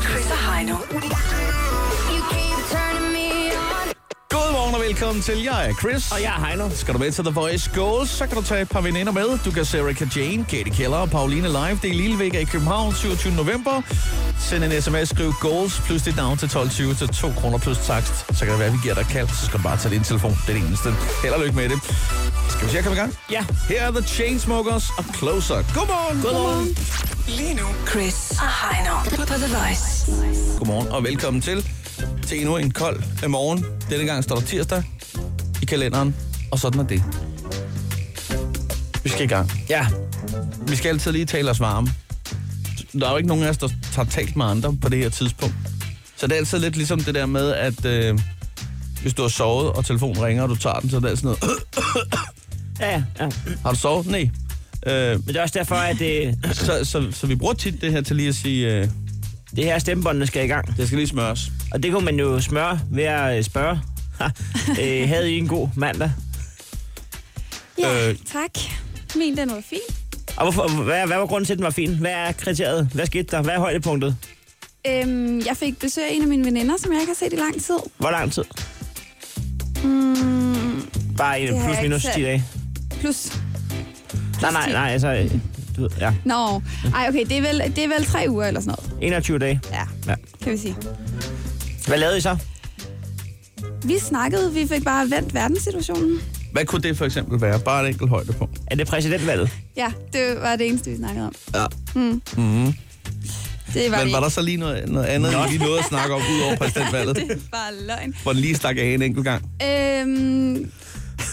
Guillermo Godmorgen og velkommen til. Jeg er Chris. Og jeg er Heino. Skal du med til The Voice Goals, så kan du tage et par veninder med. Du kan se Erika Jane, Katie Keller og Pauline live. Det er Lille Vega i København 27. november. Send en sms, skriv goals plus dit navn til 1220 til 2 kroner plus takst. Så kan det være, at vi giver dig kald, så skal du bare tage din telefon. Det er det eneste. Held og lykke med det. Skal vi se at komme i gang? Ja. Her er The Chainsmokers og Closer. Godmorgen. Godmorgen. Lige nu, Chris og Heino på The Voice. Godmorgen og velkommen til. Til endnu en kold af morgen. Denne gang står der tirsdag i kalenderen, og sådan er det. Vi skal i gang. Ja. Vi skal altid lige tale os varme. Der er jo ikke nogen af os, der har talt med andre på det her tidspunkt. Så det er altid lidt ligesom det der med, at øh, hvis du har sovet, og telefonen ringer, og du tager den, så er det altid noget. Ja, ja, ja. Har du sovet? Nej. Øh, Men det er også derfor, at øh, det, så, så, så vi bruger tit det her til lige at sige, øh, det her stemmebåndene skal i gang. det skal lige smøres. Og det kunne man jo smøre ved at øh, spørge. Ha, øh, havde I en god mandag? Ja, Øh. øh. tak. Min, den var fin. Og hvorfor, hvad, hvad var grunden til, at den var fin? Hvad er kriteriet? Hvad skete der? Hvad er højdepunktet? Øhm, jeg fik besøg af en af mine veninder, som jeg ikke har set i lang tid. Hvor lang tid? Mm, Bare en Det har plus jeg minus ikke 10 dage. plus. Nej, nej, nej. Altså, øh, du ved, ja. Nå, ej okay, det er, vel, det er vel tre uger eller sådan noget. 21 dage. Ja, Ja. kan vi sige. Hvad lavede I så? Vi snakkede, vi fik bare vendt verdenssituationen. Hvad kunne det for eksempel være? Bare et enkelt højdepunkt. Er det præsidentvalget? Ja, det var det eneste, vi snakkede om. Ja. Mm. Mm-hmm. Det var Men det var der ikke. så lige noget, noget andet, Nå. I lige noget at snakke om, ud over præsidentvalget? Det er bare løgn. Hvor den lige stak af en enkelt gang. Øhm,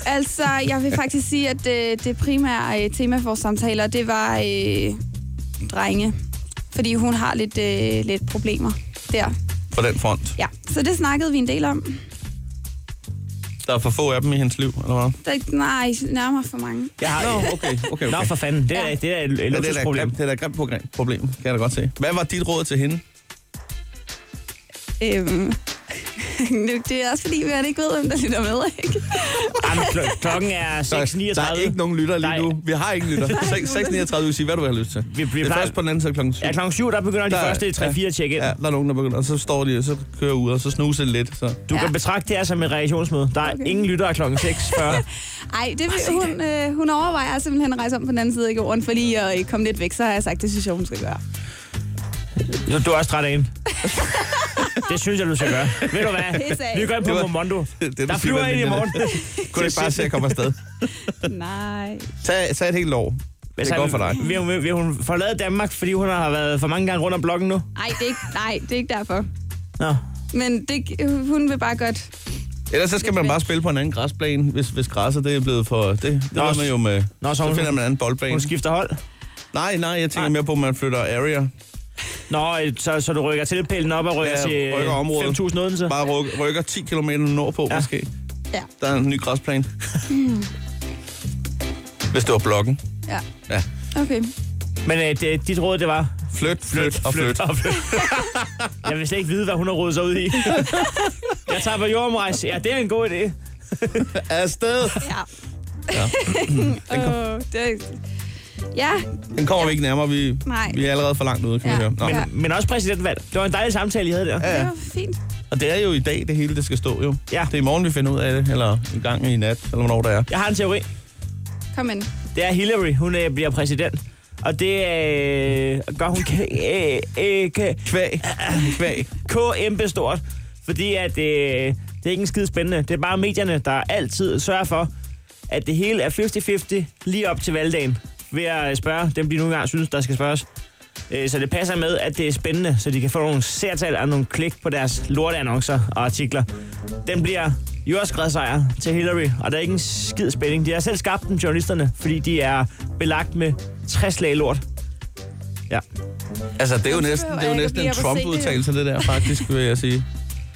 altså, jeg vil faktisk sige, at øh, det primære øh, tema for vores samtaler, det var øh, drenge. Fordi hun har lidt, øh, lidt problemer der. På den front. Ja, så det snakkede vi en del om. Der er for få af dem i hendes liv, eller hvad? Der, er ikke- nej, nærmere for mange. Jeg har, Nå, okay, okay, Nå, okay. for fanden. Det er, Ja. det er et Ja, det er da et luksusproblem. grimt, det er da et grimt program- problem, kan jeg da godt se. Hvad var dit råd til hende? Øhm, nu, det er også fordi, vi ikke ved, hvem der lytter med, ikke? Jamen, kl- klokken er Der, er- 6.39. der er ikke nogen lytter lige Nej. nu. Vi har ingen lytter. ikke nogen. 6.39, du sige, hvad du har lyst til. Vi- vi det er plejer- først på den anden side klokken 7. Ja, klokken 7, der begynder de Der- første 3-4 at tjekke ind. Ja, der er nogen, der begynder, og så står de, og så kører ud, og så snuser de lidt. Så. Du Ja. kan betragte det her som et reaktionsmøde. Der er Okay. ingen lytter af klokken 6.40. Ej, det, vil- hun, øh, hun overvejer simpelthen at rejse om på den anden side af jorden, fordi at øh, komme lidt væk, så har jeg sagt, det synes jeg, hun skal gøre. Du, du er også træt af en. Det synes jeg, du skal gøre. Ved du Pis af. hvad? Vi går ind Det på var- Momondo. det, du Der siger, flyver var en i linjerne. morgen. Kunne du ikke bare se at komme afsted? Nej. Tag, tag et helt år. Det er godt for dig. Altså, Vil, hun- vil hun forlade Danmark, fordi hun har været for mange gange rundt om blokken nu? Ej, det er ikke, nej, det er ikke derfor. Nå. Men det, hun vil bare godt. Ellers så skal man bare spille på en anden græsplæne, hvis, hvis græsset det er blevet for... Det, det Nå, ved man jo med... Nå, så Så hun, finder man en anden boldbane. hun skifter hold. Nej, nej, jeg tænker Nej. mere på, at man flytter area. Nå, øh, så, så du rykker tilpælen op og rykker Ja, til øh, rykker området. 5.000 Odense. Bare ryk, rykker 10 km nordpå, ja. Ja. måske. Ja. Der er en ny græsplan. Hvis det var blokken. Hmm. Ja, Ja. okay. Men øh, det, dit råd, det var... Flyt, flyt, flyt og flyt. og flyt. Jeg vil slet ikke vide, hvad hun har rodet sig ud i. Jeg tager på jordomrejse. Ja, det er en god idé. Afsted! Ja. Ja. Åh, det, ja, Den kommer vi ikke nærmere. Vi, Nej. vi er allerede for langt ude, kan ja. Ja. vi høre. Nå. Ja. Ja. Men også præsidentvalg. Det var en dejlig samtale, I havde der. det Ja. var fint. Og det er jo i dag, det hele det skal stå jo. Ja. Det er i morgen, vi finder ud af det, eller en gang i nat, eller hvornår det er. Jeg har en teori. Kom ind. Det er Hillary, hun øh, bliver præsident. Og det øh, gør hun kan, øh, øh, kan, Kvæg. Kvæg. KMB stort. Fordi at, øh, det er ikke en skide spændende. Det er bare medierne, der altid sørger for, at det hele er 50-50 lige op til valgdagen. Ved at øh, spørge dem, de nogle gange synes, der skal spørges. Øh, Så det passer med, at det er spændende, så de kan få nogle sertal og nogle klik på deres lorteannoncer og artikler. Den bliver jordskredsejr til Hillary, og der er ikke en skid spænding. De har selv skabt dem, journalisterne, fordi de er belagt med 60 lag lort. Altså, det er jo Jamen, så næsten, det er behøver jo jeg næsten ikke en at blive op og se Trump-udtalelse, det der, faktisk, vil jeg sige.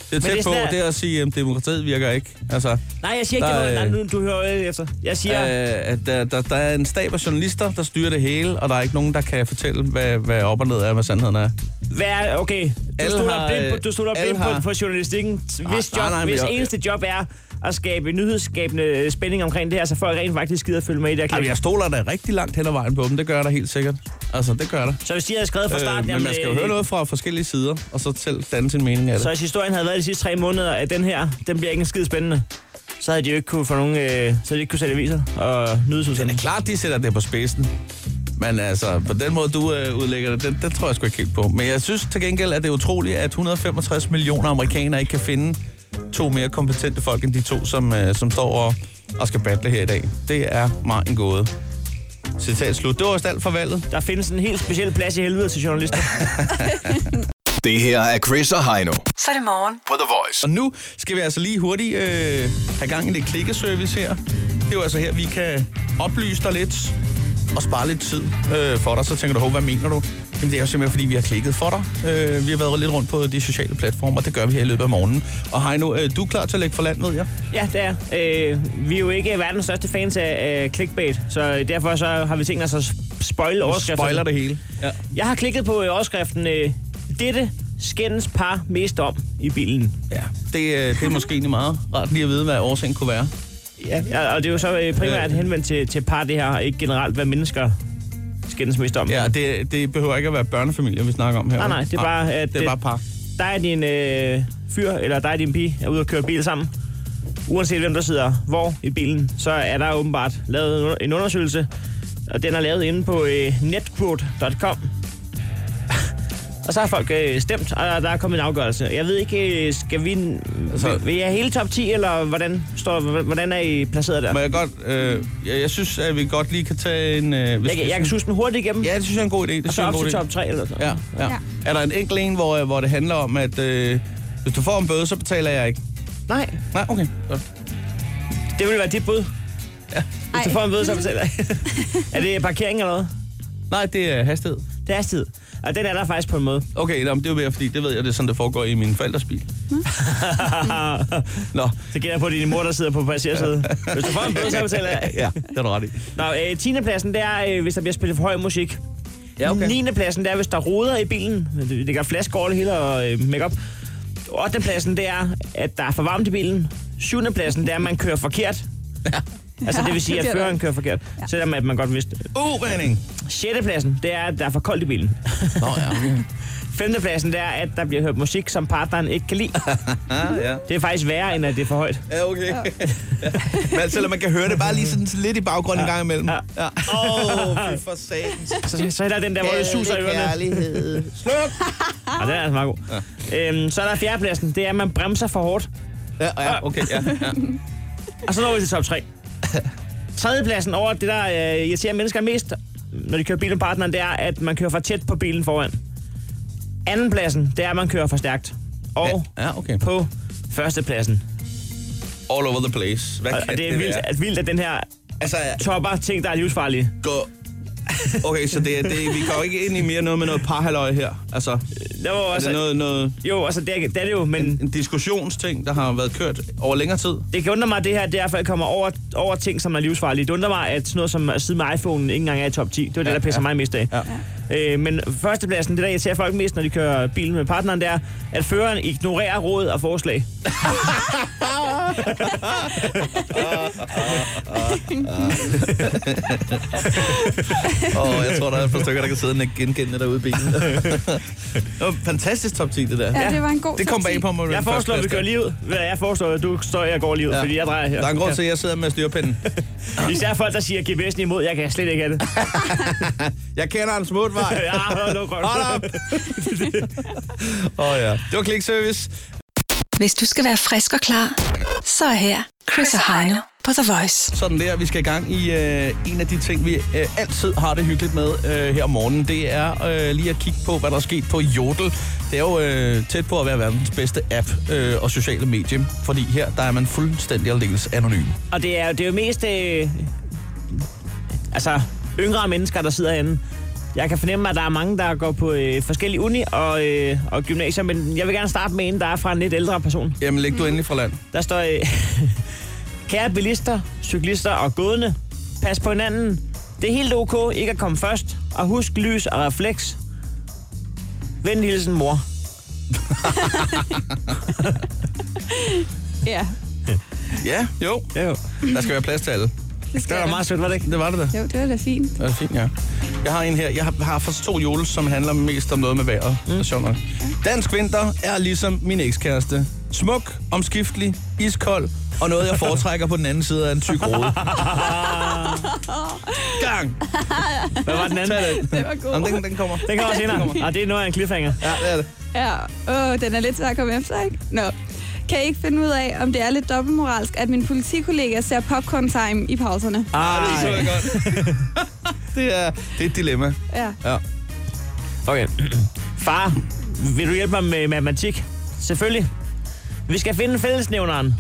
Det er det er tæt på, sådan, at- det er at sige, at demokratiet virker ikke. Altså, Nej, jeg siger ikke, Der der, er, det var, nej, øh, nu- du hører øh, efter. Jeg siger, Øh, at der, der, der er en stab af journalister, der styrer det hele, og der er ikke nogen, der kan fortælle, hvad, hvad op og ned er, hvad sandheden er. Hvad er, okay, du Alle stoler har, blind på, øh, du stoler alle blind har- Ah, på, på journalistikken. Hvis, nej, job, nej, men hvis jeg- eneste job er at skabe nyhedsskabende øh, spænding omkring det her, så folk rent faktisk gider at følge med i det her klip. Altså, jeg stoler da rigtig langt hen ad vejen på dem. Det gør jeg da helt sikkert. Altså, det gør jeg da. Så hvis de havde skrevet fra starten, Øh, men man skal jo høre noget fra forskellige sider, og så selv danne sin mening af det. så hvis historien havde været de sidste tre måneder, at den her, den bliver ikke en skid spændende, så havde de jo ikke kunne få nogen, øh, så havde de ikke kunne sælge aviser og Men det er nyhedsudsendelser. klart, de sætter det på spidsen. Men altså, på den måde, du øh, udlægger det, den, den tror jeg sgu ikke helt på. Men jeg synes til gengæld, at det er utroligt, at 165 millioner amerikanere ikke kan finde to mere kompetente folk end de to, som, øh, som står og, og skal battle her i dag. Det er mig en gåde. Citat slut. Det var vist alt for valget. Der findes en helt speciel plads i helvede til journalister. Det her er Chris og Heino Så er det morgen. på The Voice. Og nu skal vi altså lige hurtigt øh, have gang i lidt klikkeservice her. Det er jo altså her, vi kan oplyse dig lidt og spare lidt tid øh, for dig. Så tænker du, "Hov, hvad mener du? Jamen, det er jo simpelthen, fordi vi har klikket for dig. Øh, vi har været lidt rundt på de sociale platformer, det gør vi her i løbet af morgenen. Og Heino, øh, du er klar til at lægge for land, ved jeg. Ja, det er. Øh, vi er jo ikke verdens største fans af øh, clickbait, så derfor så har vi tænkt os at spoil overskriften. Spoiler det hele. Ja. Jeg har klikket på øh, overskriften, øh, dette skændes par mest om i bilen. ja. Det, øh, det er måske egentlig meget rart lige at vide, hvad årsagen kunne være. Ja. ja og det er jo så øh, primært Øh. henvendt til, til par det her, og ikke generelt, hvad mennesker skændes mest om. Ja, det, det behøver ikke at være børnefamilier, vi snakker om her. Ah, Nej, nej, det er bare, at det er det- bare par. Dig er din øh, fyr, eller dig er din pige, er ude og køre bil sammen. Uanset hvem der sidder hvor i bilen, så er der åbenbart lavet en under- en undersøgelse, og den er lavet inde på øh, netquote.com. og så har folk øh, stemt, og der er kommet en afgørelse. Jeg ved ikke, øh, skal vi... Altså- Altså, vil jeg hele top 10, eller hvordan, står, hvordan er I placeret der? Må Jeg, jeg godt... Øh, jeg, jeg synes, at vi godt lige kan tage en... Øh, hvis- kan- jeg kan suge den hurtigt igennem, Ja, det synes jeg er en god idé. Det og synes så jeg er en op god til idé. top 3 eller sådan Ja, ja. Ja. Er der en enkelt en, hvor, øh, hvor det handler om, at øh, hvis du får en bøde, så betaler jeg ikke? Nej, Nej, okay. Så. det vil være dit bud. Ej, Hvis du får en bøde, så fortæller jeg. er det parkering eller noget? Nej, det er hastighed. Det er tid. Og den er der faktisk på en måde. Okay, nå, men det er jo mere, fordi det ved jeg, det er sådan, det foregår i min forældres bil. Nå, Så gælder jeg på, at det er din mor, der sidder på passagersædet. Hvis du får en bøde, så betaler jeg. ja, det er du ret i. Nå, øh, 10. pladsen, det er, øh, hvis der bliver spillet for høj musik. Ja, okay. 9. pladsen, det er, hvis der roder i bilen. Det, det gør flaske over det hele og øh, makeup. 8. pladsen, det er, at der er for varmt i bilen. 7. pladsen, det er, at man kører forkert. Altså, det vil sige, Ja, det at bliver føreren kører forkert. Selvom at man godt vidste. Uh, Henning! 6. pladsen, det er, at der er for koldt i bilen. Nå, ja, okay. 5. pladsen, det er, at der bliver hørt musik, som partneren ikke kan lide. Ah, ja. Det er faktisk værre, end at det er for højt. Ja, okay. Ja. Men altså, eller man kan høre det bare lige sådan lidt i baggrunden en gang imellem. Ja. Ja. Åh, oh, fy for satans. Så, så heller den der, hvor det suser i ørerne. kærlighed. Sluk! Ja, den er altså meget god. Ja. Øhm, så er der fjerdepladsen. Det er, at man bremser for hårdt. Ja, ja, okay, ja. ja. Og så når vi til top 3. Tredjepladsen over det, der øh, irriterer mennesker mest, når de kører bil med partneren, det er, at man kører for tæt på bilen foran. Andenpladsen, det er, at man kører for stærkt. Og ja. Ja, okay. på førstepladsen. All over the place. Hvad Og, og kan det er vildt, være? at, vildt, at den her Altså, topper ting, der er livsfarlige. gå... Okay, så det, er- det, vi går ikke ind i mere noget med noget parhaløje her. Altså, er Der var det også, noget, noget, Jo, altså, det, er, det er det jo, men en diskussionsting, der har været kørt over længere tid? det kan undre mig, at det her derfor kommer over, over ting, som er livsfarlige. Det undrer mig, at sådan noget som at sidde med iPhone ikke engang er i top 10. Det var det, Ja, der pisser ja. mig mest af. Ja. Øh, men førstepladsen, det der irriterer folk mest, når de kører bilen med partneren, det er, at føreren ignorerer råd og forslag. Og jeg tror, der er et par stykker, der kan sidde og genkende det derude i bilen. det var fantastisk top 10, det der. Ja, det var en god Det kom top 10. bag på mig. med Jeg den foreslår, at vi første kører plads lige ud. Hvad Jeg foreslår, at du står og går lige ud, der. ja. fordi jeg drejer her. Der er en grund til, at jeg sidder med styrpinden. Især folk, der siger GPS'en imod, jeg kan slet ikke have det. Jeg kender en smut vej. Ja, hold nu godt. Hold op! Åh oh, ja. Det var klikservice. Hvis du skal være frisk og klar, så er her Chris og Heino på The Voice. Sådan der, vi skal i gang i øh, en af de ting, vi øh, altid har det hyggeligt med øh, her om morgenen. Det er øh, lige at kigge på, hvad der er sket på Jodel. Det er jo øh, tæt på at være verdens bedste app øh, og sociale medie, fordi her der er man fuldstændig aldeles anonym. Og det er, jo- det er jo mest... Øh, altså, yngre mennesker, der sidder herinde. Jeg kan fornemme, at der er mange, der går på øh, forskellige uni og, øh, og gymnasier, men jeg vil gerne starte med en, der er fra en lidt ældre person. Jamen, læg du endelig fra land. Der står, øh, kære bilister, cyklister og gående, pas på hinanden. Det er helt ok ikke at komme først, og husk lys og refleks. Vend hilsen, mor. Ja. Ja, jo. Ja, jo. Der skal være plads til alle. Det Det var skal da der. meget sødt, var det ikke? Det var det da. Jo, det var da fint. Det er fint, ja. Jeg har en her. Jeg har, har faktisk to jule, som handler mest om noget med vejret. Mm. Sjovt nok. Dansk vinter er ligesom min ekskæreste. Smuk, omskiftelig, iskold og noget, jeg foretrækker på den anden side af en tyk rode. Gang! Hvad var den anden? Tag den. Det var god. Jamen, den, den kommer. Den kommer senere. Ah, det er noget af en cliffhanger. Ja, det er det. Ja, åh, den er lidt svær at komme efter, ikke? Nå. Kan I ikke finde ud af, om det er lidt dobbeltmoralsk, at min politikollega ser popcorn time i pauserne? Ah, det så Ah, jeg godt. det, er, det er et dilemma. Ja. Ja. okay. Far, vil du hjælpe mig med matematik? Selvfølgelig. Vi skal finde fællesnævneren.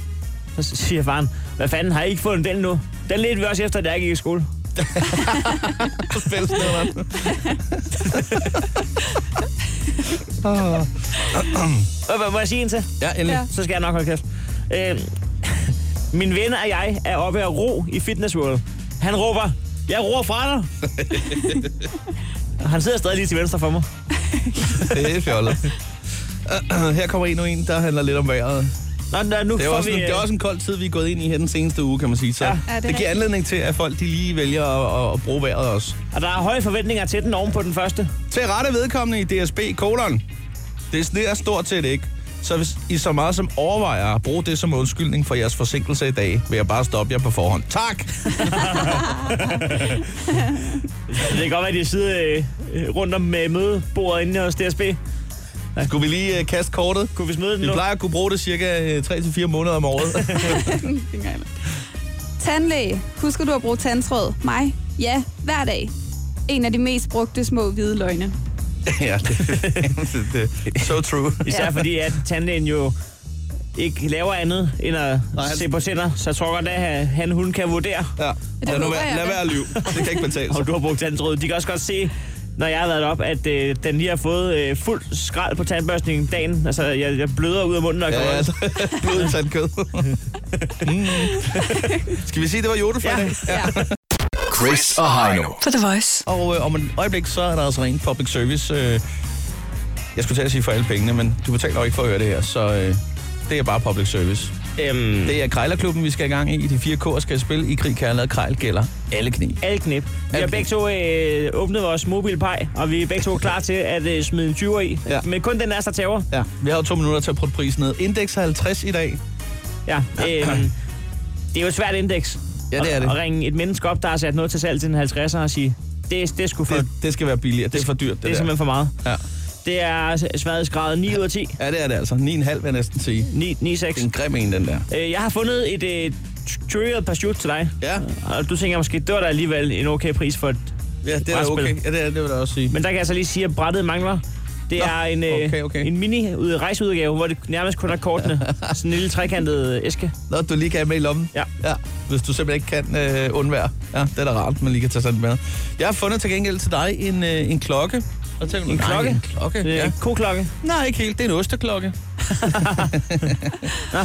Så siger faren, hvad fanden, har I ikke fundet den nu? Den ledte vi også efter, da jeg gik i skole. Fællesnævneren. Hvad- Hvad må jeg sige en til? Ja, endelig. Ja. så skal jeg nok holde kæft. Øh, min ven og jeg er oppe at ro i Fitness World. Han råber, jeg roer fra dig. Og Han sidder stadig lige til venstre for mig. Det er fjollet. Her kommer endnu en, der handler lidt om vejret. Nå, nå nu Det er, får jo også, vi... en, det er øh, også en kold tid, vi er gået ind i her den seneste uge, kan man sige. Så Ja. Ja, ja, det er det, det rigtigt. giver anledning til, at folk de lige vælger at, at, at bruge vejret også. Og der er høje forventninger til den oven på den første. Til rette vedkommende i DSB, kolon. Det sneer stort set ikke. Så hvis I så meget som overvejer at bruge det som undskyldning for jeres forsinkelse i dag, vil jeg bare stoppe jer på forhånd. Tak! Det kan godt være, at de sidder øh, øh, rundt om øh, mødebordet inde hos DSB. Skulle vi lige uh, kaste kortet? Kunne vi smide den Vi nu? plejer at kunne bruge det cirka øh, 3-4 måneder om året. Tandlæge. Husker du at bruge tandtråd? Mig? Ja, hver dag. En af de mest brugte små hvide løgne. ja, det, det, det, so true. Især Ja. fordi, at tandlægen jo ikke laver andet end at Nej, han- se på tænder. Så jeg tror godt, at han hun kan vurdere, Ja. Lad, nu håber være, jeg lad da. være at lyve. Det kan ikke betale sig. Og du har brugt tandtråd. De kan også godt se, når jeg har været op, at øh, den lige har fået øh, fuld skrald på tandbørstningen dagen. Altså, jeg, jeg bløder ud af munden, og Ja, kommer ja, altså. blod i tandkød. mm. Skal vi sige, det var jodel for i Ja. dag? Ja. Chris og Heino. På The Voice. Og øh, om et øjeblik, så er der altså rent public service. Øh, jeg skulle til at sige for alle pengene, men du betaler jo ikke for at høre det her, så øh, det er bare public service. Øhm, Det er Krejlerklubben, vi skal i gang i. De fire K'er skal spille i krig, kærlighed og krejl gælder alle knæ. alle knep. Vi har knep. begge to øh, åbnet vores mobilpej, og vi er begge to klar til at øh, smide en 20'er i. Ja. Ja. Men kun den er så tæver. Ja, vi har jo to minutter til at putte prisen ned. Indeks er 50 i dag. Ja. Øhm, det er jo et svært indeks. Ja, det er det. At, at ringe et menneske op, der har sat noget til salg til den 50'er og sige, det, det er sgu for... Det, Det, det skal være billigere. Det er for dyrt, det, det er der. simpelthen for meget. Ja. Det er sværhedsgrad 9 ud af 10. ja, det er det altså. 9,5 vil jeg næsten sige. 9, 9 6. Det er en grim en, den der. Øh, jeg har fundet et øh, Turial Pursuit til dig. Ja. Og du tænker måske, det var da alligevel en okay pris for et... Ja, det er da Brætspil. okay. Ja, det, er, det vil jeg da også sige. Men der kan jeg så lige sige, at brættet mangler. Det Nå, er en, øh, okay, okay. en mini ud- rejseudgave, hvor det nærmest kun er kortene. Sådan en lille trekantet øh, æske. Nå, du lige kan have med i lommen? Ja. ja. Hvis du simpelthen ikke kan øh, undvære. Ja, det er da rart, man lige kan tage sådan med. Jeg har fundet til gengæld til dig en, øh, en klokke. Og til, en klokke? en klokke, Okay, ja. ja. Øh, Koklokke. Nej, ikke helt. Det er en osteklokke. Nå.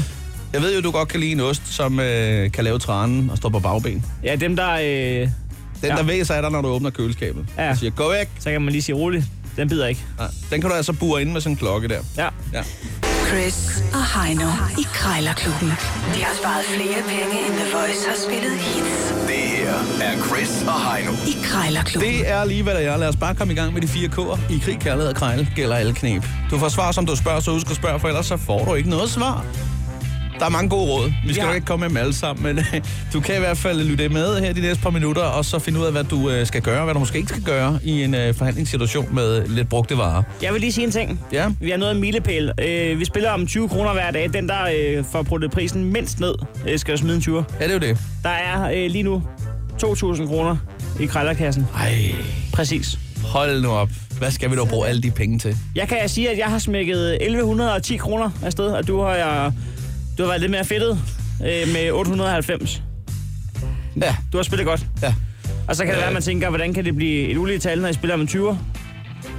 Jeg ved jo, du godt kan lide en ost, som øh, kan lave tranen og stå på bagben. Ja, dem der... Øh, Den, Ja. der væser af dig, når du åbner køleskabet. Ja. Jeg siger, gå væk. så kan man lige sige roligt. Den bider ikke. Nej. Den kan du altså bure ind med sådan en klokke der. Ja. Ja. Chris og Heino i Krejlerklubben. De har sparet flere penge, end The Voice har spillet hits Det her er Chris og Heino. i Krejlerklubben. Det er lige, hvad der er. Lad os bare komme i gang med de fire K'er. I krig, kærlighed og krejl gælder alle knep. Du får svar, som du spørger, så husk at spørge, for ellers så får du ikke noget svar. Der er mange gode råd. Vi skal Ja. nok ikke komme med dem alle sammen, men øh, du kan i hvert fald lytte med her de næste par minutter, og så finde ud af, hvad du øh, skal gøre, og hvad du måske ikke skal gøre i en øh, forhandlingssituation med lidt brugte varer. Jeg vil lige sige en ting. Ja. Vi har noget af en milepæl. Øh, vi spiller om 20 kroner hver dag. Den, der øh, får bruttet prisen mindst ned, øh, skal jo smide en 20. Ja, det er jo det. Der er øh, lige nu 2.000 kroner i krællerkassen. Ej, Præcis. hold nu op. Hvad skal vi dog bruge alle de penge til? Jeg kan sige, at jeg har smækket 1110 kroner afsted, og du har, jeg, du har været lidt mere fedtet øh, med 890. Ja, Du har spillet godt. ja. Og så kan det være, at man tænker, hvordan kan det blive et ulige tal, når jeg spiller om en 20'er?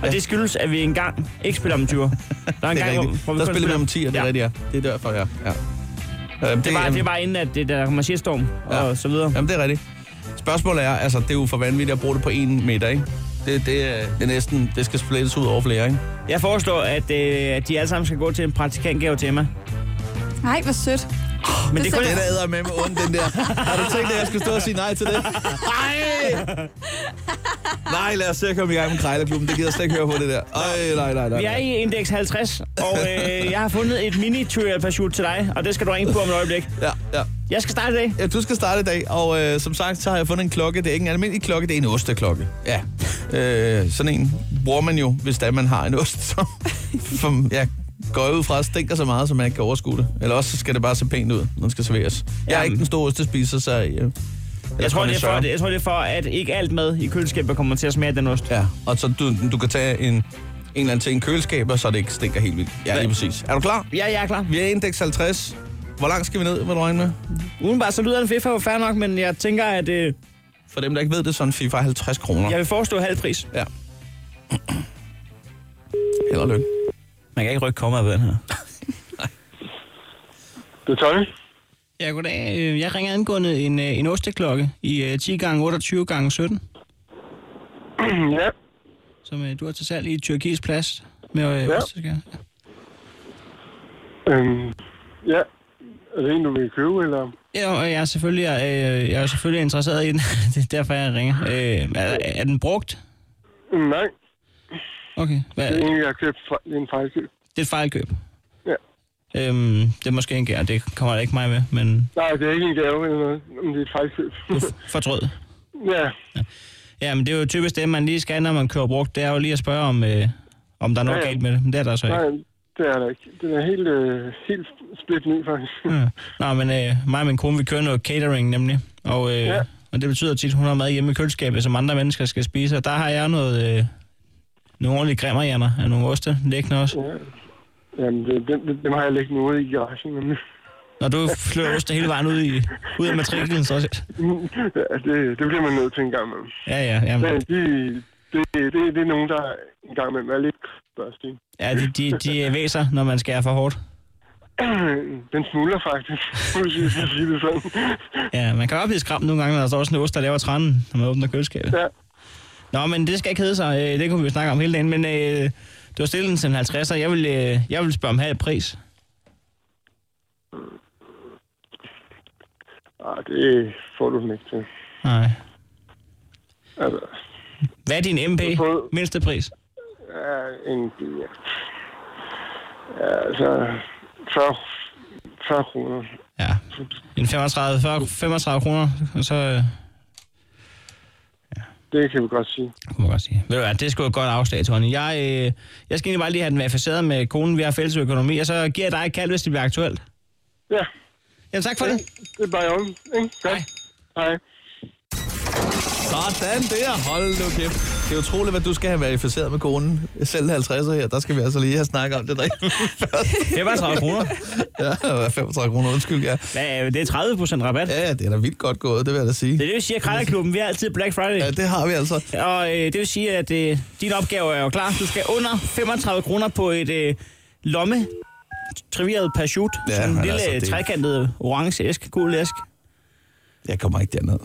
Og det skyldes, at vi engang ikke spiller om en 20'er. Der er en Det er gang, hvor, rigtigt. hvor vi Der kun spiller vi om 10, det er ja. rigtigt, ja. Det er derfor, ja. ja. Øhm, Det er, bare, øhm, det er bare inden, at det der kommer shitstorm og Ja. så videre. Jamen, det er rigtigt. Spørgsmålet er, altså, det er jo for vanvittigt at bruge det på en meter, ikke? Det, det, er, det er næsten, det skal splittes ud over flere, ikke? Jeg foreslår, at, øh, at de alle sammen skal gå til en praktikantgave til Emma. Nej, hvor sødt. Men det, Det er kun, sagde Den der æder med med ondt, den der. Har du tænkt, at jeg skulle stå og sige nej til det? Nej! Nej, lad os se at komme i gang med Krejlerklubben. Det gider jeg slet ikke høre på, det der. Øj, nej, nej, nej. vi er nej. i indeks 50, og øh, jeg har fundet et mini trivial pursuit til dig, og det skal du ringe på om et øjeblik. Ja, ja. Jeg skal starte i dag. Ja, du skal starte i dag, og øh, som sagt, så har jeg fundet en klokke. Det er ikke en almindelig klokke, det er en osteklokke. Ja, øh, sådan en bruger man jo, hvis der man har en ost, som, som ja, går ud fra stinker så meget, så man ikke kan overskue det. Eller også så skal det bare se pænt ud, når den skal serveres. Jeg er Jamen. ikke den store ostespiser, så... Øh, eller Jeg tror, det er for, kondensør. jeg tror, det er for, at ikke alt mad i køleskabet kommer til at smage af den ost. Ja, og så du, du kan tage en, en eller anden ting i køleskabet, så det ikke stinker helt vildt. Ja, lige præcis. Er du klar? Ja, jeg er klar. Vi er i indeks 50. Hvor langt skal vi ned, vil du regne med? Udenbart så lyder en FIFA jo fair nok, men jeg tænker, at øh, For dem, der ikke ved det, så er en FIFA 50 kroner. jeg vil forestå halv pris. Ja. Held og lykke. Man kan ikke rykke komma ved den her. Det er Tommy. Ja, goddag. Øh, Jeg ringer angående en, øh, en osteklokke i øh, 10 gange 28 gange 17 ja. som øh, du har til salg i Tyrkiets Plads med øh, Ja. osteskær. Øhm, ja. Er det en, du vil købe, eller? Ja, og jeg er selvfølgelig, øh, jeg er selvfølgelig interesseret i den. det er derfor, jeg ringer. Øh, er, er den brugt? Mm, Nej, Okay. Hvad? det er Det en, jeg har købt. fra- Det er en fejlkøb. er et fejlkøb. Ja. Øhm, det er måske en gær, det kommer der ikke mig med, men Nej, det er ikke en gave eller noget. Men det er et fejlkøb. du f- fortrød. ja, Ja, men det er jo typisk det, man lige skal, når man kører brugt. Det er jo lige at spørge, om, øh, om der er noget Ja, ja. galt med det. Men det er der så ikke. nej, det er der ikke. Den er helt, øh, helt splidt ny, faktisk. Ja. Nå, men øh, mig og min kone, vi kører noget catering nemlig, og, øh, ja. Ja. og det betyder tit, at hun har mad hjemme i køleskabet, som andre mennesker skal spise, og der har jeg noget, øh, nogle ordentlige grimmerhjerner af nogle oste liggende også. Ja. Jamen, det, dem, dem, har jeg liggende ude i garagen. Men, Når du flyver oste hele vejen ud, i, ud af matriklen, så... ja, det, det bliver man nødt til en gang imellem. Ja, ja, jamen, Men de, det, det, det, er nogen, der en gang imellem er lidt børstige. ja de, de, de væser, når man skærer for hårdt. Den smuldrer faktisk, hvis jeg skal sige det sådan. Ja, man kan godt blive skræmt nogle gange, når der står sådan en ost, der laver trænen, når man åbner køleskabet. Ja. Nå, men det skal ikke hedde sig. Øh, Det kunne vi jo snakke om hele dagen, men øh, du har stillet den til en 50'er. Jeg vil, øh, jeg vil spørge om halv pris. Ah, det får du den ikke til. Nej. Altså, Hvad er din MP? prøvet- Mindste pris? ja, en bil, ja. ja altså, 40, 40 kroner. Ja. En 35, 40, 35 kroner, og så øh, Det kan vi godt sige. kunne man godt sige. Ved du hvad, det er sgu et godt afslag, Tony. Jeg, øh, jeg skal egentlig bare lige have den verificeret med konen, vi har fælles økonomi, og så giver jeg dig et kald, hvis det bliver aktuelt. Ja, Jamen tak for det. det er bare om, ikke? Godt. Hej. Sådan der. Hold nu kæft. Det er utroligt, hvad du skal have verificeret med konen. Selv 50'er her, der skal vi altså lige have snakket om det der. Det er bare 30 kroner. ja, 35 kroner, undskyld, ja. Hvad, øh, det er 30 rabat. Ja, ja, det er da vildt godt gået, det vil jeg da sige. Det er det, vi siger, Krejlerklubben, vi har altid Black Friday. Ja, det har vi altså. Og øh, det vil sige, at øh, din opgave er jo klar. Du skal under 35 kroner på et øh, lomme trivieret parachute. Ja, Ja, sådan en men lille altså, altså, det- trekantet orange æsk, gul æsk. Jeg kommer ikke derned.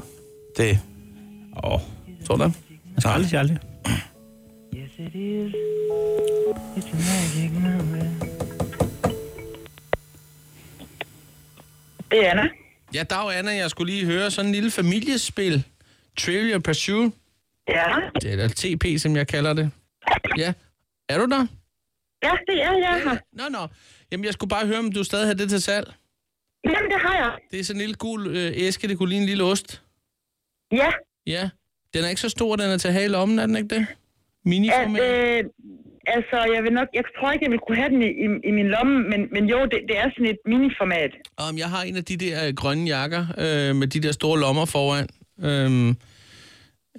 Det... Åh, oh. tror du det? Nej. Aldrig, aldrig. Det er Anna. Ja, dag Anna, jeg skulle lige høre sådan en lille familiespil. Trivial Pursuit. Ja. Det er TP, som jeg kalder det. Ja. Er du der? Ja, det er jeg her. Nå, nå. Jamen, jeg skulle bare høre, om du stadig har det til salg. Jamen, det har jeg. Det er sådan en lille gul øh, æske, det kunne ligne en lille ost. Ja, Ja. Den er ikke så stor, den er til at have i lommen, er den ikke det? at, Miniformat. øh, altså, jeg, vil nok, jeg tror ikke, jeg vil kunne have den i, i, i min lomme, men, men jo, det, det er sådan et miniformat. Om jeg har en af de der øh, grønne jakker øh, med de der store lommer foran. Øhm,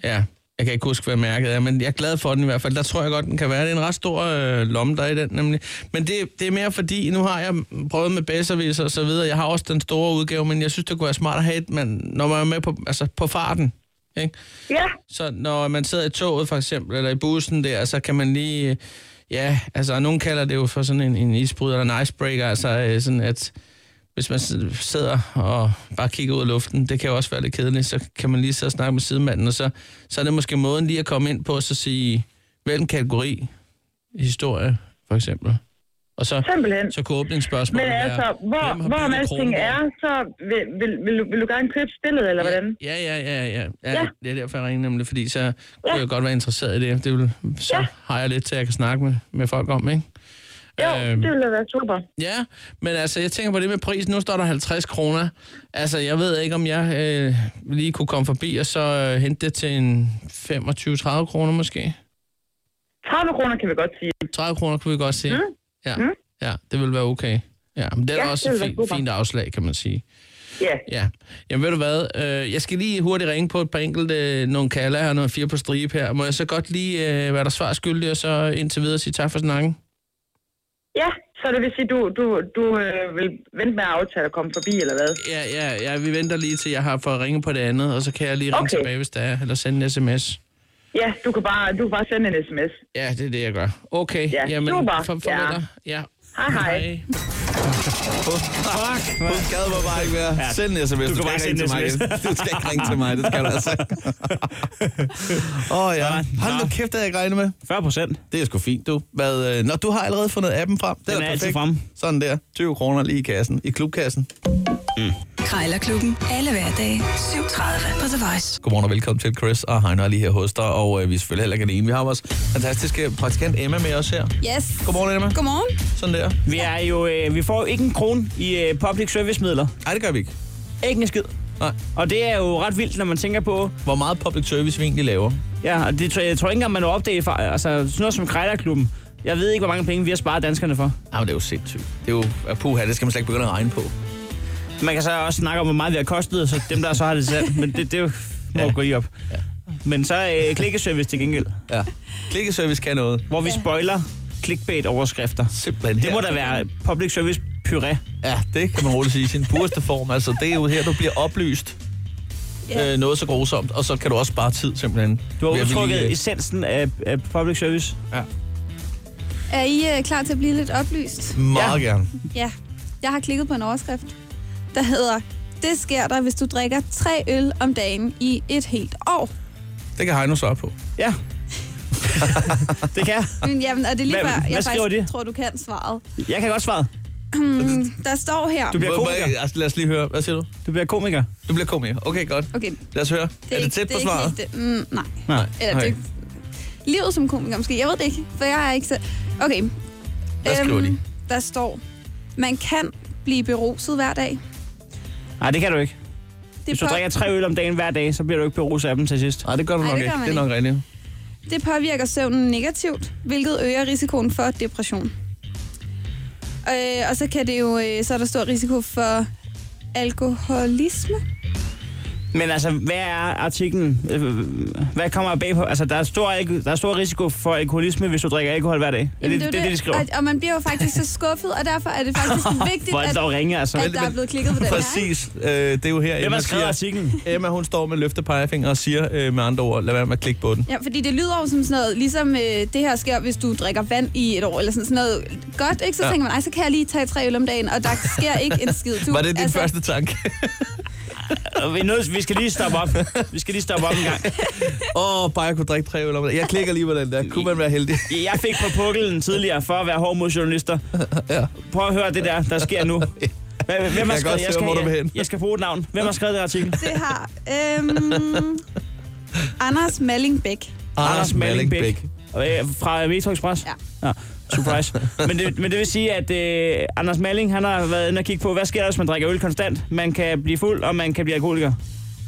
ja, jeg kan ikke huske, hvad mærket er, men jeg er glad for den i hvert fald. Der tror jeg godt, den kan være. Det er en ret stor øh, lomme, der er i den nemlig. Men det, det er mere fordi, nu har jeg prøvet med baservis og så videre. Jeg har også den store udgave, men jeg synes, det kunne være smart at have et, man, når man er med på, altså på farten. Ikke? Ja, Så når man sidder i toget for eksempel, eller i bussen der, så kan man lige... øh, Ja, altså og nogen kalder det jo for sådan en, en isbryder eller en icebreaker, altså øh, sådan at hvis man sid- sidder og bare kigger ud af luften, det kan jo også være lidt kedeligt, så kan man lige sidde og snakke med sidemanden, og så, så er det måske måden lige at komme ind på, og så sige, hvilken kategori historie for eksempel, Og så, Simpelthen. så kunne åbningsspørgsmålet Men være, altså, hvor, hvem har hvor bygget alting Kronborg? er, så vil, vil, vil, du- vil du gerne købe spillet, eller hvordan? Ja, ja, ja, ja. ja, ja. Ja. Det er derfor, jeg ringer nemlig, fordi så kunne Ja. jeg godt være interesseret i det. det vil, så Ja. har jeg lidt til, at jeg kan snakke med, med folk om, ikke? Jo, Øhm. det ville da være super. Ja, men altså, jeg tænker på det med prisen. Nu står der 50 kroner. Altså, jeg ved ikke, om jeg øh, lige kunne komme forbi og så øh, hente det til en 25-30 kroner måske. 30 kroner kan vi godt sige. 30 kroner kunne vi godt se. Mm. Ja. Mm. ja, det ville være okay. Ja, men det er Ja, ja, også det et ville være fint, super. fint afslag, kan man sige. Ja, Ja. Jamen ved du hvad, øh, jeg skal lige hurtigt ringe på et par enkelte, øh, nogle kalder her, nogle fire på stribe her. Må jeg så godt lige øh, være der svar skyldig, og så indtil videre sige tak for snakken? ja. så det vil sige, du, du, du øh, vil vente med at aftale at komme forbi, eller hvad? Ja, ja, ja, vi venter lige til, jeg har fået ringet på det andet, og så kan jeg lige ringe okay. Okay. tilbage, hvis der er, eller sende en sms. Ja, du kan bare, du kan bare sende en sms. Ja, det er det, jeg gør. Okay, Ja, jamen, super. for, for Ja. ja. ja. Hej, hej. Fuck, Hun gad mig bare ikke være. Ja. Send en sms. Du kan bare skal sende ikke ringe til mig. Du skal ikke ringe til mig, det skal du altså. Åh oh, ja. Hold nu kæft, det havde jeg ikke regnet med. 40 procent. Det er sgu fint, du. Hvad, øh, når du har allerede fundet appen frem, det Den er er altid perfekt. fremme. Sådan der. 20 kroner lige i kassen. I klubkassen. Krejlerklubben. Alle hverdage. 7.30 på The Voice. Godmorgen og velkommen til Chris og Heino er lige her hos dig, og øh, vi er selvfølgelig heller ikke alene. Vi har vores fantastiske praktikant Emma med os her. Yes. Godmorgen, Emma. Godmorgen. Sådan der. Vi, er jo, øh, vi får jo ikke en krone i øh, public service midler. Nej, det gør vi ikke. Ikke en skid. Nej. Og det er jo ret vildt, når man tænker på, Hvor meget public service vi egentlig laver. ja, og det tror jeg, jeg tror ikke engang, man har opdaget fra, altså sådan noget som Krejlerklubben. Jeg ved ikke, hvor mange penge vi har sparet danskerne for. Jamen, det er jo sindssygt. Det er jo, at puha, det skal man slet ikke begynde at regne på. Man kan så også snakke om, hvor meget vi har kostet, så dem der så har det selv, men det, det er jo, må ja. gå i op. Ja. Men så øh, klikkeservice til gengæld, Ja. Klikkeservice kan noget. hvor vi spoiler clickbait-overskrifter. Simpelthen. Det må da være public service puré. Ja, det kan man roligt sige i sin pureste form. Altså, det er jo her, du bliver oplyst. Ja. Yeah. Øh, noget så grusomt, og så kan du også spare tid, simpelthen. Du har Ved at vi udtrykket lige, øh, essensen af, af public service. Er I øh, klar til at blive lidt oplyst? Meget gerne. Ja. Jeg har klikket på en overskrift, der hedder, det sker der, hvis du drikker tre øl om dagen i et helt år. Det kan Heino svare på. Ja. det kan jeg. Men jamen, og det er lige Hvad- før, hvad jeg skriver faktisk de? tror, du kan svaret. Mm. Jeg kan godt svare. Der står her... Du bliver Må- må komiker. jeg- Altså, lad os lige høre. Hvad siger du? Du bliver komiker. Du bliver komiker. Okay, godt. Okay, Lad os høre. Det er, er det ikke- tæt på ikke svaret? helt det. Mm, nej. Nej. Eller Okay. okay. det, livet som komiker måske. Jeg ved det ikke, for jeg er ikke selv. Okay. Øhm, Hvad skriver de? Der står, man kan blive beruset hver dag. Nej, det kan du ikke. Det, Hvis du drikker tre øl om dagen hver dag, så bliver du ikke beruset af dem til sidst. Nej, det gør du Ej, nok det gør ikke. man Det er nok rigtigt. det påvirker søvnen negativt, hvilket øger risikoen for depression. Øh, og så kan det jo, øh, så er der stor risiko for alkoholisme. Men altså, hvad er artiklen? Øh, Hvad kommer bag på? Altså, der er, stor, alko- der er stor risiko for alkoholisme, hvis du drikker alkohol hver dag. Er det, det, det, det, de skriver. Og, og man bliver jo faktisk så skuffet, og derfor er det faktisk vigtigt, Hvor er at, det dog ringe, altså. at der er blevet klikket på den her. ikke? Præcis. Øh, det er jo her, Hvem Emma har skrevet siger... artiklen? Emma, hun står med løftet pegefinger og siger øh, med andre ord, lad være med at klikke på den. Ja, fordi det lyder jo som sådan noget, ligesom øh, det her sker, hvis du drikker vand i et år, eller sådan, sådan noget godt, ikke? Så Ja. ja. tænker man, ej, så kan jeg lige tage tre øl om dagen, og der sker ikke en skid. Du, Var det din altså... første tanke? Og Øh, Vi, er nødt, vi skal lige stoppe op. Vi skal lige stoppe op en gang. Åh, oh, bare jeg kunne drikke tre øl om det. Jeg klikker lige på den der. Kunne man være heldig? Jeg fik på puklen tidligere for at være hård mod journalister. Prøv at høre det der, der sker nu. Hvem- Hvem har godt skrevet, se, jeg, skal, hvor du vil hen. jeg, jeg skal bruge et navn. Hvem har skrevet den artikel? Det har øhm, Anders Mallingbæk. Anders Malling Bæk. Øh, Fra Metro Express? Ja. Nå, surprise. men, det, men det vil sige, at øh, Anders Malling han har været inde og kigge på, hvad sker der, hvis man drikker øl konstant? Man kan blive fuld, og man kan blive alkoholiker.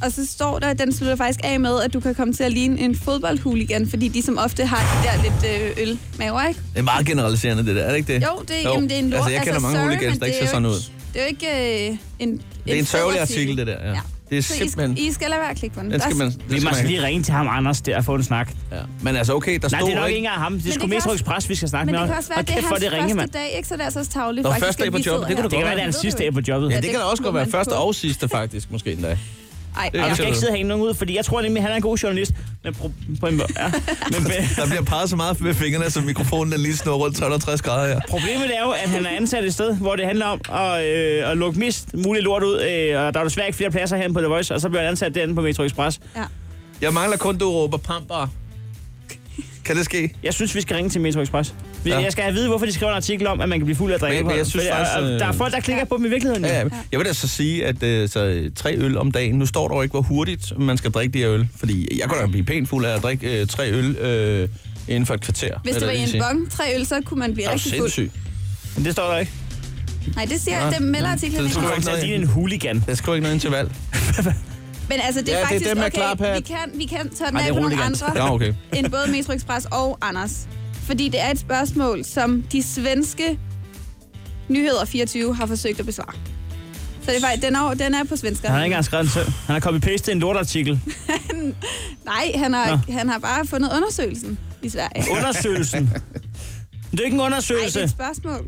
Og så står der, at den slutter faktisk af med, at du kan komme til at ligne en fodboldhuligan, fordi de som ofte har de der lidt øh, øl maver, ikke? Det er meget generaliserende, det der. Er det ikke det? Jo, det, jamen, det er en lort. Altså, jeg kender mange sorry, hooligans, men der det ikke er ser jo sådan ud. ikke- Det er jo ikke øh, en, Det er en sørgelig artikel, det der. Ja. Ja. Det er Så I, simpelthen... I skal lade være at klikke på den. Den Der- skal man... Vi den må altså skal man... lige ringe til ham, Anders, der og få en snak. Ja. Men altså, okay, der Nej, stod det er nok ikke ikke... engang ham. Det er Men sgu det kan Metro også- Express, vi skal snakke Men med. det kan også være, og at det er kæft, hvor hans det første ringe, mand. dag, ikke? Så det er så også tavligt Nå, faktisk. første dag at på vi jobbet, sidder det kunne her. det Det kan være, det er Ved hans du sidste det? dag på jobbet. Ja, Ja, det kan da også må godt være man første få. og sidste, faktisk, måske endda. Ej, Det er ja. Jeg skal absolut. ikke sidde og hænge nogen ud, fordi jeg tror nemlig, han er en god journalist. Men pro- på en, ja. Men øh, be- Der bliver peget så meget med fingrene, så mikrofonen den lige snor rundt 360 grader her. problemet er jo, at han er ansat et sted, hvor det handler om at, øh, at lukke mest muligt lort ud. Øh, og der er desværre ikke flere pladser herinde på The Voice, og så bliver han ansat derinde på Metro Express. ja. Jeg mangler kun, du råber pamper. Kan det ske? Jeg synes, vi skal ringe til Metro Express. Men Ja. ja. jeg skal have at vide, hvorfor de skriver en artikel om, at man kan blive fuld af drikke. Men- men jeg synes faktisk, øh, der er folk, der klikker på dem i virkeligheden. Ja, Ja. ja. Jeg vil da så sige, at øh, så, tre øl om dagen, nu står der jo ikke, hvor hurtigt man skal drikke de her øl. Fordi jeg kunne da blive pænt fuld af at drikke øh, tre øl øh, inden for et kvarter. Hvis det eller var i lige en sige. bong, tre øl, så kunne man blive Er du rigtig fuld. sindssyg? Men det står der ikke. Nej, det siger jeg, det melder artiklen Det ikke. tror jeg om. ikke. Så Nej. de er en hooligan. Der skriver ikke noget interval. Men altså, det er Ja, det er faktisk, dem med okay, klaphat. vi kan, vi kan tage den Nej, det af er på nogle roligans. andre. Ja, okay. end både Metro Express og Anders. Fordi det er et spørgsmål, som de svenske nyheder 24 har forsøgt at besvare. Så det er faktisk, den, er, den er på svensker. Han har ikke engang skrevet den selv. Han har copy-pastet en lortartikel. Nej, han har, Nå. han har bare fundet undersøgelsen i Sverige. Nej, Undersøgelsen. Men Det er ikke en det undersøgelse. er et spørgsmål.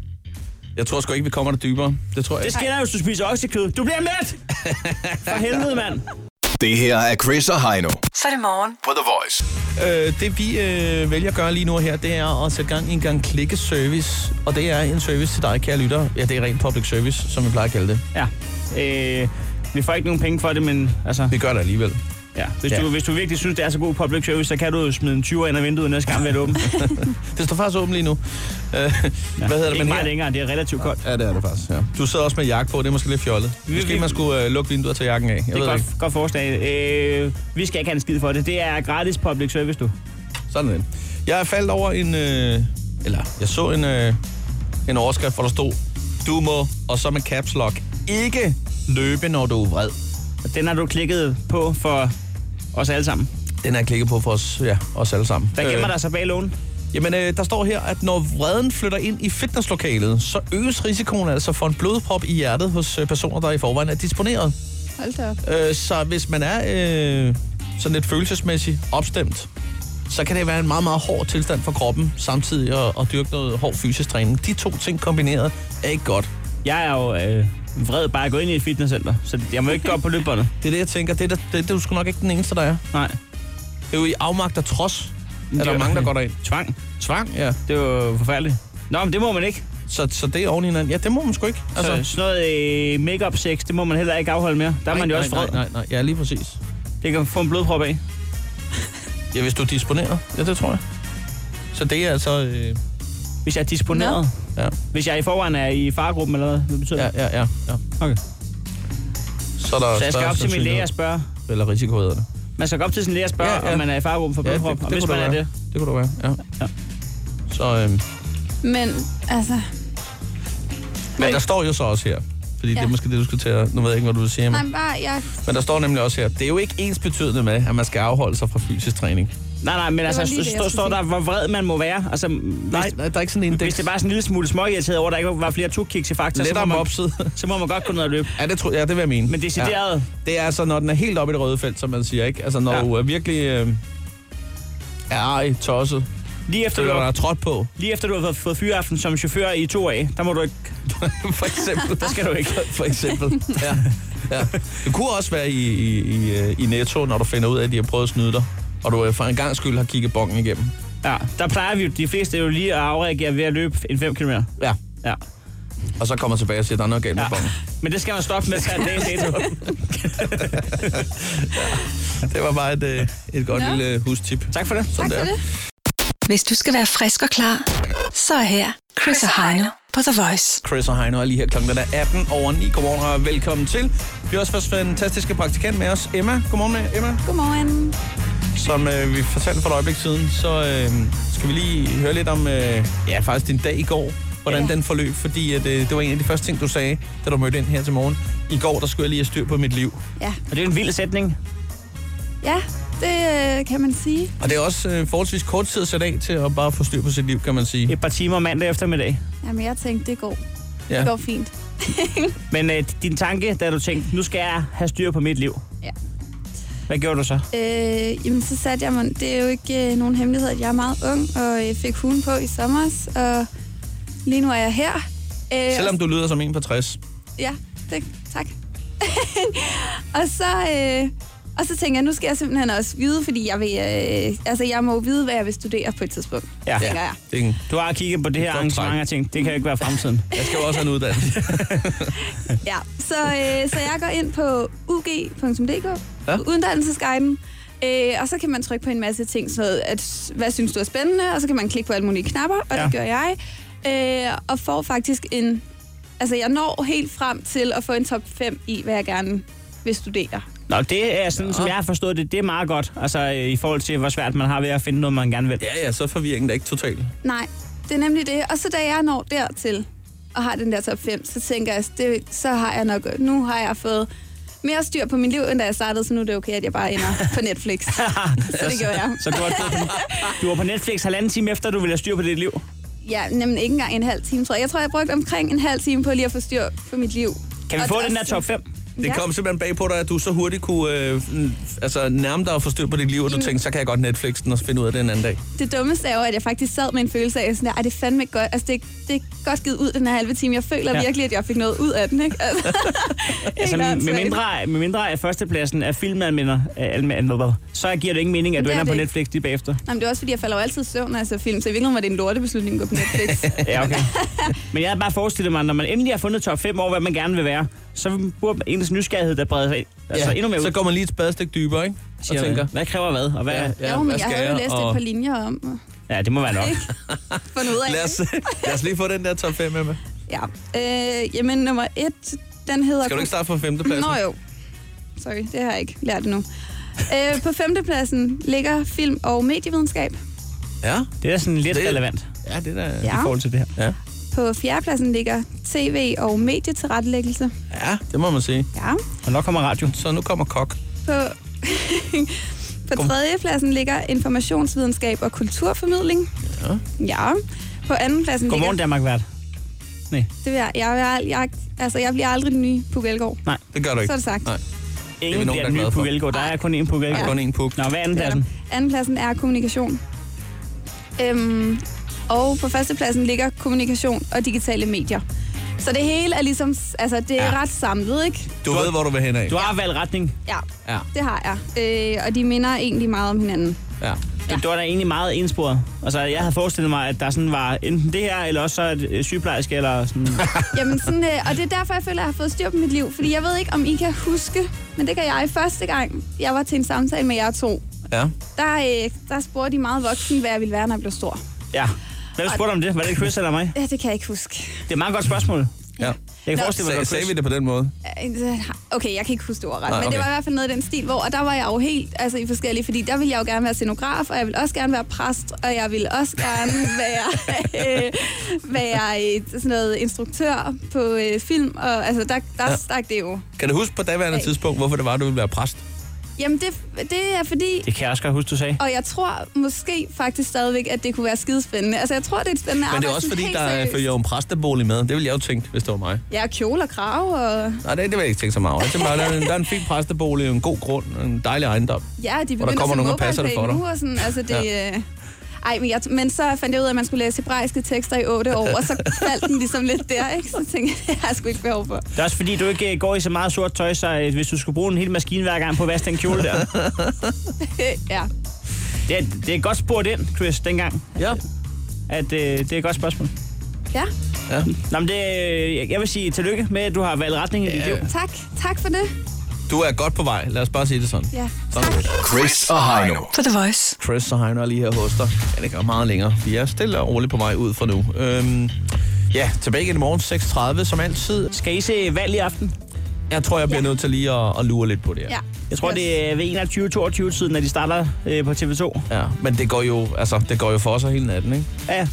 Jeg tror sgu ikke, vi kommer der dybere. Det tror jeg Det ikke. sker, hvis du spiser oksekød. Du bliver mæt! For helvede, mand. Det her er Chris og Heino Så er det morgen. på The Voice. Øh, det vi øh, vælger at gøre lige nu og her, det er at sætte gang i en gang klikkeservice. Og det er en service til dig, kære lytter. Ja, det er rent public service, som vi plejer at kalde det. Ja. Øh, vi får ikke nogen penge for det, men altså, Vi gør det alligevel. ja. Hvis, Ja. Du, hvis du virkelig synes, det er så god public service, så kan du jo smide en 20'er ind ad vinduet næste gang, vi er det åbent. Det står faktisk åbent lige nu. Øh, ja. Hvad hedder det? ikke men meget her- længere, det er relativt koldt. Ja, det er det faktisk, ja. Du sidder også med jakke på, det er måske lidt fjollet. Måske vi- man skulle øh, lukke vinduet til jakken af. Jeg Det er ved et ikke. godt, godt forslag. Øh, vi skal ikke have en skid for det. Det er gratis public service, du. Sådan er det. Jeg faldt over en... Øh, eller, jeg så en, øh, en overskrift, hvor der stod, du må, og så med caps lock, ikke løbe, når du er vred. Og den har du klikket på for os alle sammen. Den er jeg klikket på for os, ja, os alle sammen. Hvad gemmer Øh, der sig bag lågen? Jamen, øh, der står her, at når vreden flytter ind i fitnesslokalet, så øges risikoen altså for en blodprop i hjertet hos øh, personer, der i forvejen er disponeret. Hold da op. Øh, så hvis man er øh, sådan lidt følelsesmæssigt opstemt, så kan det være en meget, meget hård tilstand for kroppen, samtidig at, at dyrke noget hård fysisk træning. De to ting kombineret er ikke godt. Jeg er jo øh, vred bare at gå ind i et fitnesscenter, så jeg må ikke gå op på løbebåndet. Det er det, jeg tænker. Det er, der- det, det er du sgu nok ikke den eneste, der er. Nej. Det er jo i afmagt og trods, at der Det er er- mange, der går derind. Tvang. Tvang, ja. Det er jo forfærdeligt. Nå, men det må man ikke. Så, så det er oven i hinanden. Ja, det må man sgu ikke. Altså, så, sådan noget øh, make-up sex, det må man heller ikke afholde mere. Der er man jo også nej, vred. nej, nej, nej. Ja, lige præcis. Det kan få en blodprop af. Ja, hvis du er disponeret. Ja, det tror jeg. Så det er altså... Øh, Hvis jeg er disponeret. Ja. Hvis jeg i forvejen er i faregruppen eller hvad, hvad betyder ja, det? ja, ja, ja. Okay. Så, er der Så større jeg skal op til min sandsynlighed. læge og spørge. Eller risiko hedder det. Man skal gå op til sin læge og spørge, Ja, ja, ja. ja. om man er i faregruppen for Ja, blodprop. og hvis kunne man da er være. det, Det kunne du være, ja. Ja. Så, øhm, Men altså, men der står jo så også her, fordi ja. det er Ja. måske det, du skal til at... Nu ved jeg ikke, hvad du vil sige, nej, men, men bare, jeg, men der står nemlig også her, det er jo ikke ens betydende med, at man skal afholde sig fra fysisk træning. Nej, nej, men altså, var lige det, jeg står skulle står sige. der, hvor vred man må være. Altså, hvis, Nej, nej der er ikke sådan en hvis indeks. det bare er sådan en lille smule småirriteret over, at der ikke var flere tukkiks i fakta, så Lettere må, man, mopset. så må man godt gå ned og løbe. ja, det tror ja, det vil jeg mene. Men decideret, Ja. Det er altså, når den er helt oppe i det røde felt, som man siger, ikke? Altså, når ja. Ja. du er virkelig... Øh, er ej, tosset, ja. lige, efter du, føler dig har- trådt på, lige efter du har fået- fået fyreaften som chauffør i to af, der må du ikke... for eksempel. Der skal du ikke. for eksempel. Ja. Ja. Det kunne også være i, i, i, øh, i Netto, når du finder ud af, at de har prøvet at snyde dig, og du øh, for en gang skyld har kigget bongen igennem. Ja, der plejer vi jo, de fleste jo lige at afreagere ved at løbe en 5 km. Ja. Ja. Og så kommer tilbage og siger, at der er noget galt med Ja. bongen. Men det skal man stoppe med per dags dato. Det var bare et, øh, et godt Nå. lille hustip. Tak for det. tak for det. Hvis du skal være frisk og klar, så er her Chris og Heino på The Voice. Chris og Heino er lige her kl. 18 over 9. Godmorgen og velkommen til. Vi har også vores fantastiske praktikant med os, Emma. Godmorgen med Emma. Godmorgen. Som øh, vi fortalte for et øjeblik siden, så øh, skal vi lige høre lidt om, øh, ja faktisk din dag i går, hvordan Ja. den forløb, fordi at, øh, det var en af de første ting, du sagde, da du mødte ind her til morgen. I går, der skulle jeg lige have styr på mit liv. Ja, Og det er jo en vild sætning. ja det øh, kan man sige. Og det er også øh, forholdsvis kort tid at sætte af til at bare få styr på sit liv, kan man sige. Et par timer mandag eftermiddag. Jamen, jeg tænkte, det går. Ja. Det går fint. Men øh, din tanke, da du tænkte, nu skal jeg have styr på mit liv. Ja. Hvad gjorde du så? Øh, jamen, så satte jeg mig... Det er jo ikke øh, nogen hemmelighed, at jeg er meget ung, og øh, fik huden på i sommer, og lige nu er jeg her. Øh, Selvom du lyder som en på 60. Ja, det, tak. og så... Øh, og så tænker jeg, nu skal jeg simpelthen også vide, fordi jeg, vil, øh, altså, jeg må jo vide, hvad jeg vil studere på et tidspunkt, Ja. tænker jeg. Det er en, Du har kigget på det her Godt arrangement træk. og tænkt, det kan jo ikke være fremtiden. jeg skal jo også have en uddannelse. Ja, så, øh, så jeg går ind på ug.dk, Ja. ja. uddannelsesguiden, Øh, og så kan man trykke på en masse ting, sådan noget, at, hvad synes du er spændende, og så kan man klikke på alle mulige knapper, og ja. Ja. det gør jeg. Øh, og får faktisk en... Altså, jeg når helt frem til at få en top 5 i, hvad jeg gerne vil studere. Nå, det er sådan, som jeg har forstået det, det er meget godt. Altså øh, i forhold til, hvor svært man har ved at finde noget, man gerne vil. Ja, ja, så er forvirringen da ikke totalt. Nej, det er nemlig det. Og så da jeg når dertil, og har den der top 5, så tænker jeg, det, så har jeg nok... Nu har jeg fået mere styr på mit liv, end da jeg startede, så nu er det okay, at jeg bare ender på Netflix. så det gjorde jeg. Så du, har, du var på Netflix halvanden time efter, du ville have styr på dit liv. Ja, nemlig ikke engang en halv time, tror jeg. Jeg tror, jeg brugte omkring en halv time på lige at få styr på mit liv. Kan vi Og få det- den der top 5? Det Ja. kom simpelthen bag på dig, at du så hurtigt kunne øh, n- altså, nærme dig og få styr på dit liv, og Mm. du tænkte, så kan jeg godt Netflix den og så finde ud af det en anden dag. Det dummeste er jo, at jeg faktisk sad med en følelse af, sådan der, at det er fandme godt. Altså, det, det er godt givet ud, den her halve time. Jeg føler Ja. ja. virkelig, at jeg fik noget ud af den, ikke? Altså, Altså, helt med åndssvagt. mindre, med mindre af førstepladsen er filmanmelder, øh, anmelder, så giver det ingen mening, at du Det er ender på det ikke. Netflix lige bagefter. Nå, men det er også, fordi jeg falder jo altid i søvn, når jeg ser film. Så i virkeligheden var det en lortebeslutning at gå på Netflix. Ja, okay. Men jeg havde bare forestillet mig, at når man endelig har fundet top 5 over, hvad man gerne vil være, så burde ens nysgerrighed der brede sig ind. altså, endnu mere ud. så går man lige et spadestik dybere, ikke? Og Siger, tænker, Hvad kræver hvad? Og hvad? Ja. ja, jo, men hvad jeg skal havde jo læst og- et par linjer om og ja, det må være nok. fundet ud af. Lad det. os, lad os lige få den der top 5 med. Ja. Øh, jamen, nummer et, den hedder... Skal du ikke starte fra femtepladsen? Nå jo. Sorry, det har jeg ikke lært endnu. Øh, på femtepladsen ligger film- og medievidenskab. Ja, Det er sådan lidt Det- relevant ja det der. i Ja. forhold til det her. På fjerdepladsen ligger tv- og medietilrettelæggelse. ja, det må man sige. Ja. Og nok kommer radio. Så nu kommer kok. På, på tredjepladsen ligger informationsvidenskab og kulturformidling. Ja. Ja. På andenpladsen Godmorgen, ligger... Danmark vært. Det vil jeg, jeg, jeg, jeg, altså, jeg bliver aldrig den nye Puk Elgård. Det gør du ikke. Så er det sagt. Nej, Ingen vi nogen, bliver der er den nye glade for. Puk Elgård. Der er kun én Puk der er Elgård. kun én puk. Nå, hvad er anden pladsen? Andenpladsen er kommunikation. Øhm, og på førstepladsen ligger kommunikation og digitale medier. Så det hele er ligesom, altså det er Ja. ja. ret samlet, ikke? Du ved, hvor du vil hen af. Du har valgt retning. Ja, Ja, det har jeg. Øh, og de minder egentlig meget om hinanden. ja. Ja. Det var da egentlig meget ensporet. Altså, jeg havde forestillet mig, at der sådan var enten det her, eller også så et øh, sygeplejerske, eller sådan... Jamen sådan, øh, og det er derfor, jeg føler, at jeg har fået styr på mit liv. Fordi jeg ved ikke, om I kan huske, men det kan jeg. Første gang, jeg var til en samtale med jer to, ja. der, øh, der spurgte de meget voksen, hvad jeg ville være, når jeg blev stor. Ja. Hvem spurgte om det? Var det Chris eller mig? Ja, det kan jeg ikke huske. Det er et meget godt spørgsmål. ja. Jeg kan Nå. forestille mig, Sag, at det var sagde vi Chris. det på den måde? Øh, Okay, jeg kan ikke huske det ordret, Nej, okay. men okay. det var i hvert fald noget i den stil, hvor, og der var jeg jo helt altså, i forskellige, fordi der ville jeg jo gerne være scenograf, og jeg ville også gerne være præst, og jeg ville også gerne være, øh, være et, sådan noget instruktør på øh, film, og altså, der, der Ja. ja. stak det jo. Kan du huske på daværende Nej. tidspunkt, hvorfor det var, du ville være præst? Jamen, det, det er fordi, Det kan jeg også godt huske, du sagde. og jeg tror måske faktisk stadigvæk, at det kunne være skidespændende. Altså, jeg tror, det er et spændende Men det er arbejde, også sådan fordi, helt der er- seriøst. følger jo en præstebolig med. Det ville jeg jo tænke, hvis det var mig. Ja, kjole og krav, og Nej, det, det vil jeg ikke tænke så meget over. Jeg tænker bare, der, er en- der er en fin præstebolig, en god grund, en dejlig ejendom. ja, de der begynder kommer som nogen og passer det for MobilePay dig. nu, og sådan, altså det... Ja. Ej, men, jeg, men så fandt jeg ud af, at man skulle læse hebraiske tekster i otte år, og så faldt den ligesom lidt der, ikke? Så tænkte jeg, det har jeg sgu ikke behov for. Det er også fordi, du ikke øh, går i så meget sort tøj, så øh, hvis du skulle bruge en hel maskine hver gang på at vaske den kjole der. ja. Det er, det er godt spurgt ind, Chris, dengang. Ja. At, øh, det er et godt spørgsmål. ja, ja. Nå, men det, øh, jeg vil sige tillykke med, at du har valgt retning i dit liv. tak. Tak for det. Du er godt på vej. Lad os bare sige det sådan. Ja. Sådan er det. Chris og Heino. På The Voice. Chris og Heino er lige her hos dig. Ja, det går meget længere. Vi er stille og roligt på vej ud fra nu. Øhm, ja, tilbage igen i morgen 6.30 som altid. Skal I se valg i aften? Jeg tror, jeg bliver nødt til lige at, at lure lidt på det her. Ja. Jeg tror, det er ved 21-22-tiden, når de starter øh, på TV2. ja. Men det går jo, altså, det går jo for sig hele natten, ikke? Ja.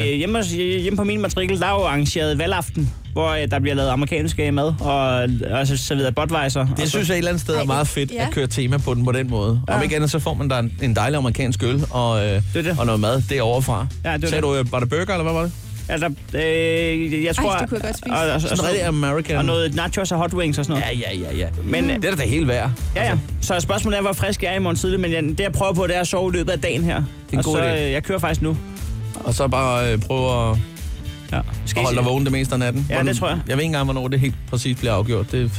Øh, hjemme, hos- hjemme på min matrikel, der er jo arrangeret valgaften, hvor øh, der bliver lavet amerikansk øh, mad og, og så serveret Budweiser. og Det så- synes jeg et eller andet sted er Ej, meget fedt ja. at køre tema på den på den måde. Ja. Om ikke andet, så får man da en, en dejlig amerikansk øl og, øh, er det. og noget mad deroverfra. Ja, det er Sagde det. du, øh, var det burger, eller hvad var det? Ja, der, Altså, øh, jeg tror, det kunne jeg godt spise. Og, og, og, Sådan en rigtig og, american. og noget nachos og hot wings og sådan noget. Ja, ja, ja, ja. Men, Men, det er da det hele værd. Ja, ja. Så spørgsmålet er, hvor frisk jeg er i morgen tidlig, men jeg, det jeg prøver på, det er at sove i løbet af dagen her. Det en og god så, idé. øh, jeg kører faktisk nu. Og så bare øh, prøve at Ja. Skal at I holde dig se- vågen det meste af natten. Ja, Hvordan- det tror jeg. Jeg ved ikke engang, hvornår det helt præcis bliver afgjort. Det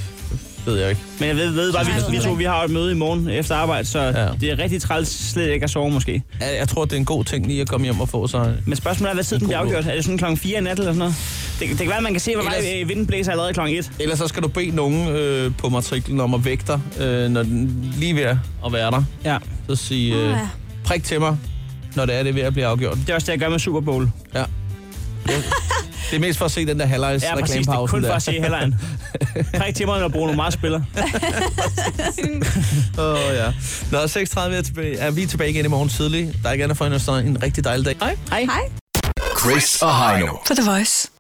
ved jeg ikke. Men jeg ved, ved bare, Nej, vi, vi det to ved vi har et møde i morgen efter arbejde, så Ja. ja. det er rigtig træls slet ikke at sove måske. Jeg, jeg tror, det er en god ting lige at komme hjem og få sig... Men spørgsmålet er, hvad tid den bliver god afgjort? Er det sådan klokken 4 i nat eller sådan noget? Det, det kan være, at man kan se, hvor Ellers- Ellers... vej øh, vinden blæser allerede klokken 1. Ellers så skal du bede nogen øh, på matriklen om at vække dig, øh, når den lige er ved at være der. Ja. Så sig, øh, Åh, ja. prik til mig, når det er det er ved at blive afgjort. Det er også det, jeg gør med Super Bowl. Ja. Det er mest for at se den der halvlejs Ja, præcis. Det er kun der. for at se headline. Tre timer, når Bruno Mars spiller. Åh, oh, ja. Nå, 6.30 er, tilbage, er vi tilbage igen i morgen tidlig. Der er ikke andet for end at sige en rigtig dejlig dag. Hej. Hej. Chris og Heino. På The Voice.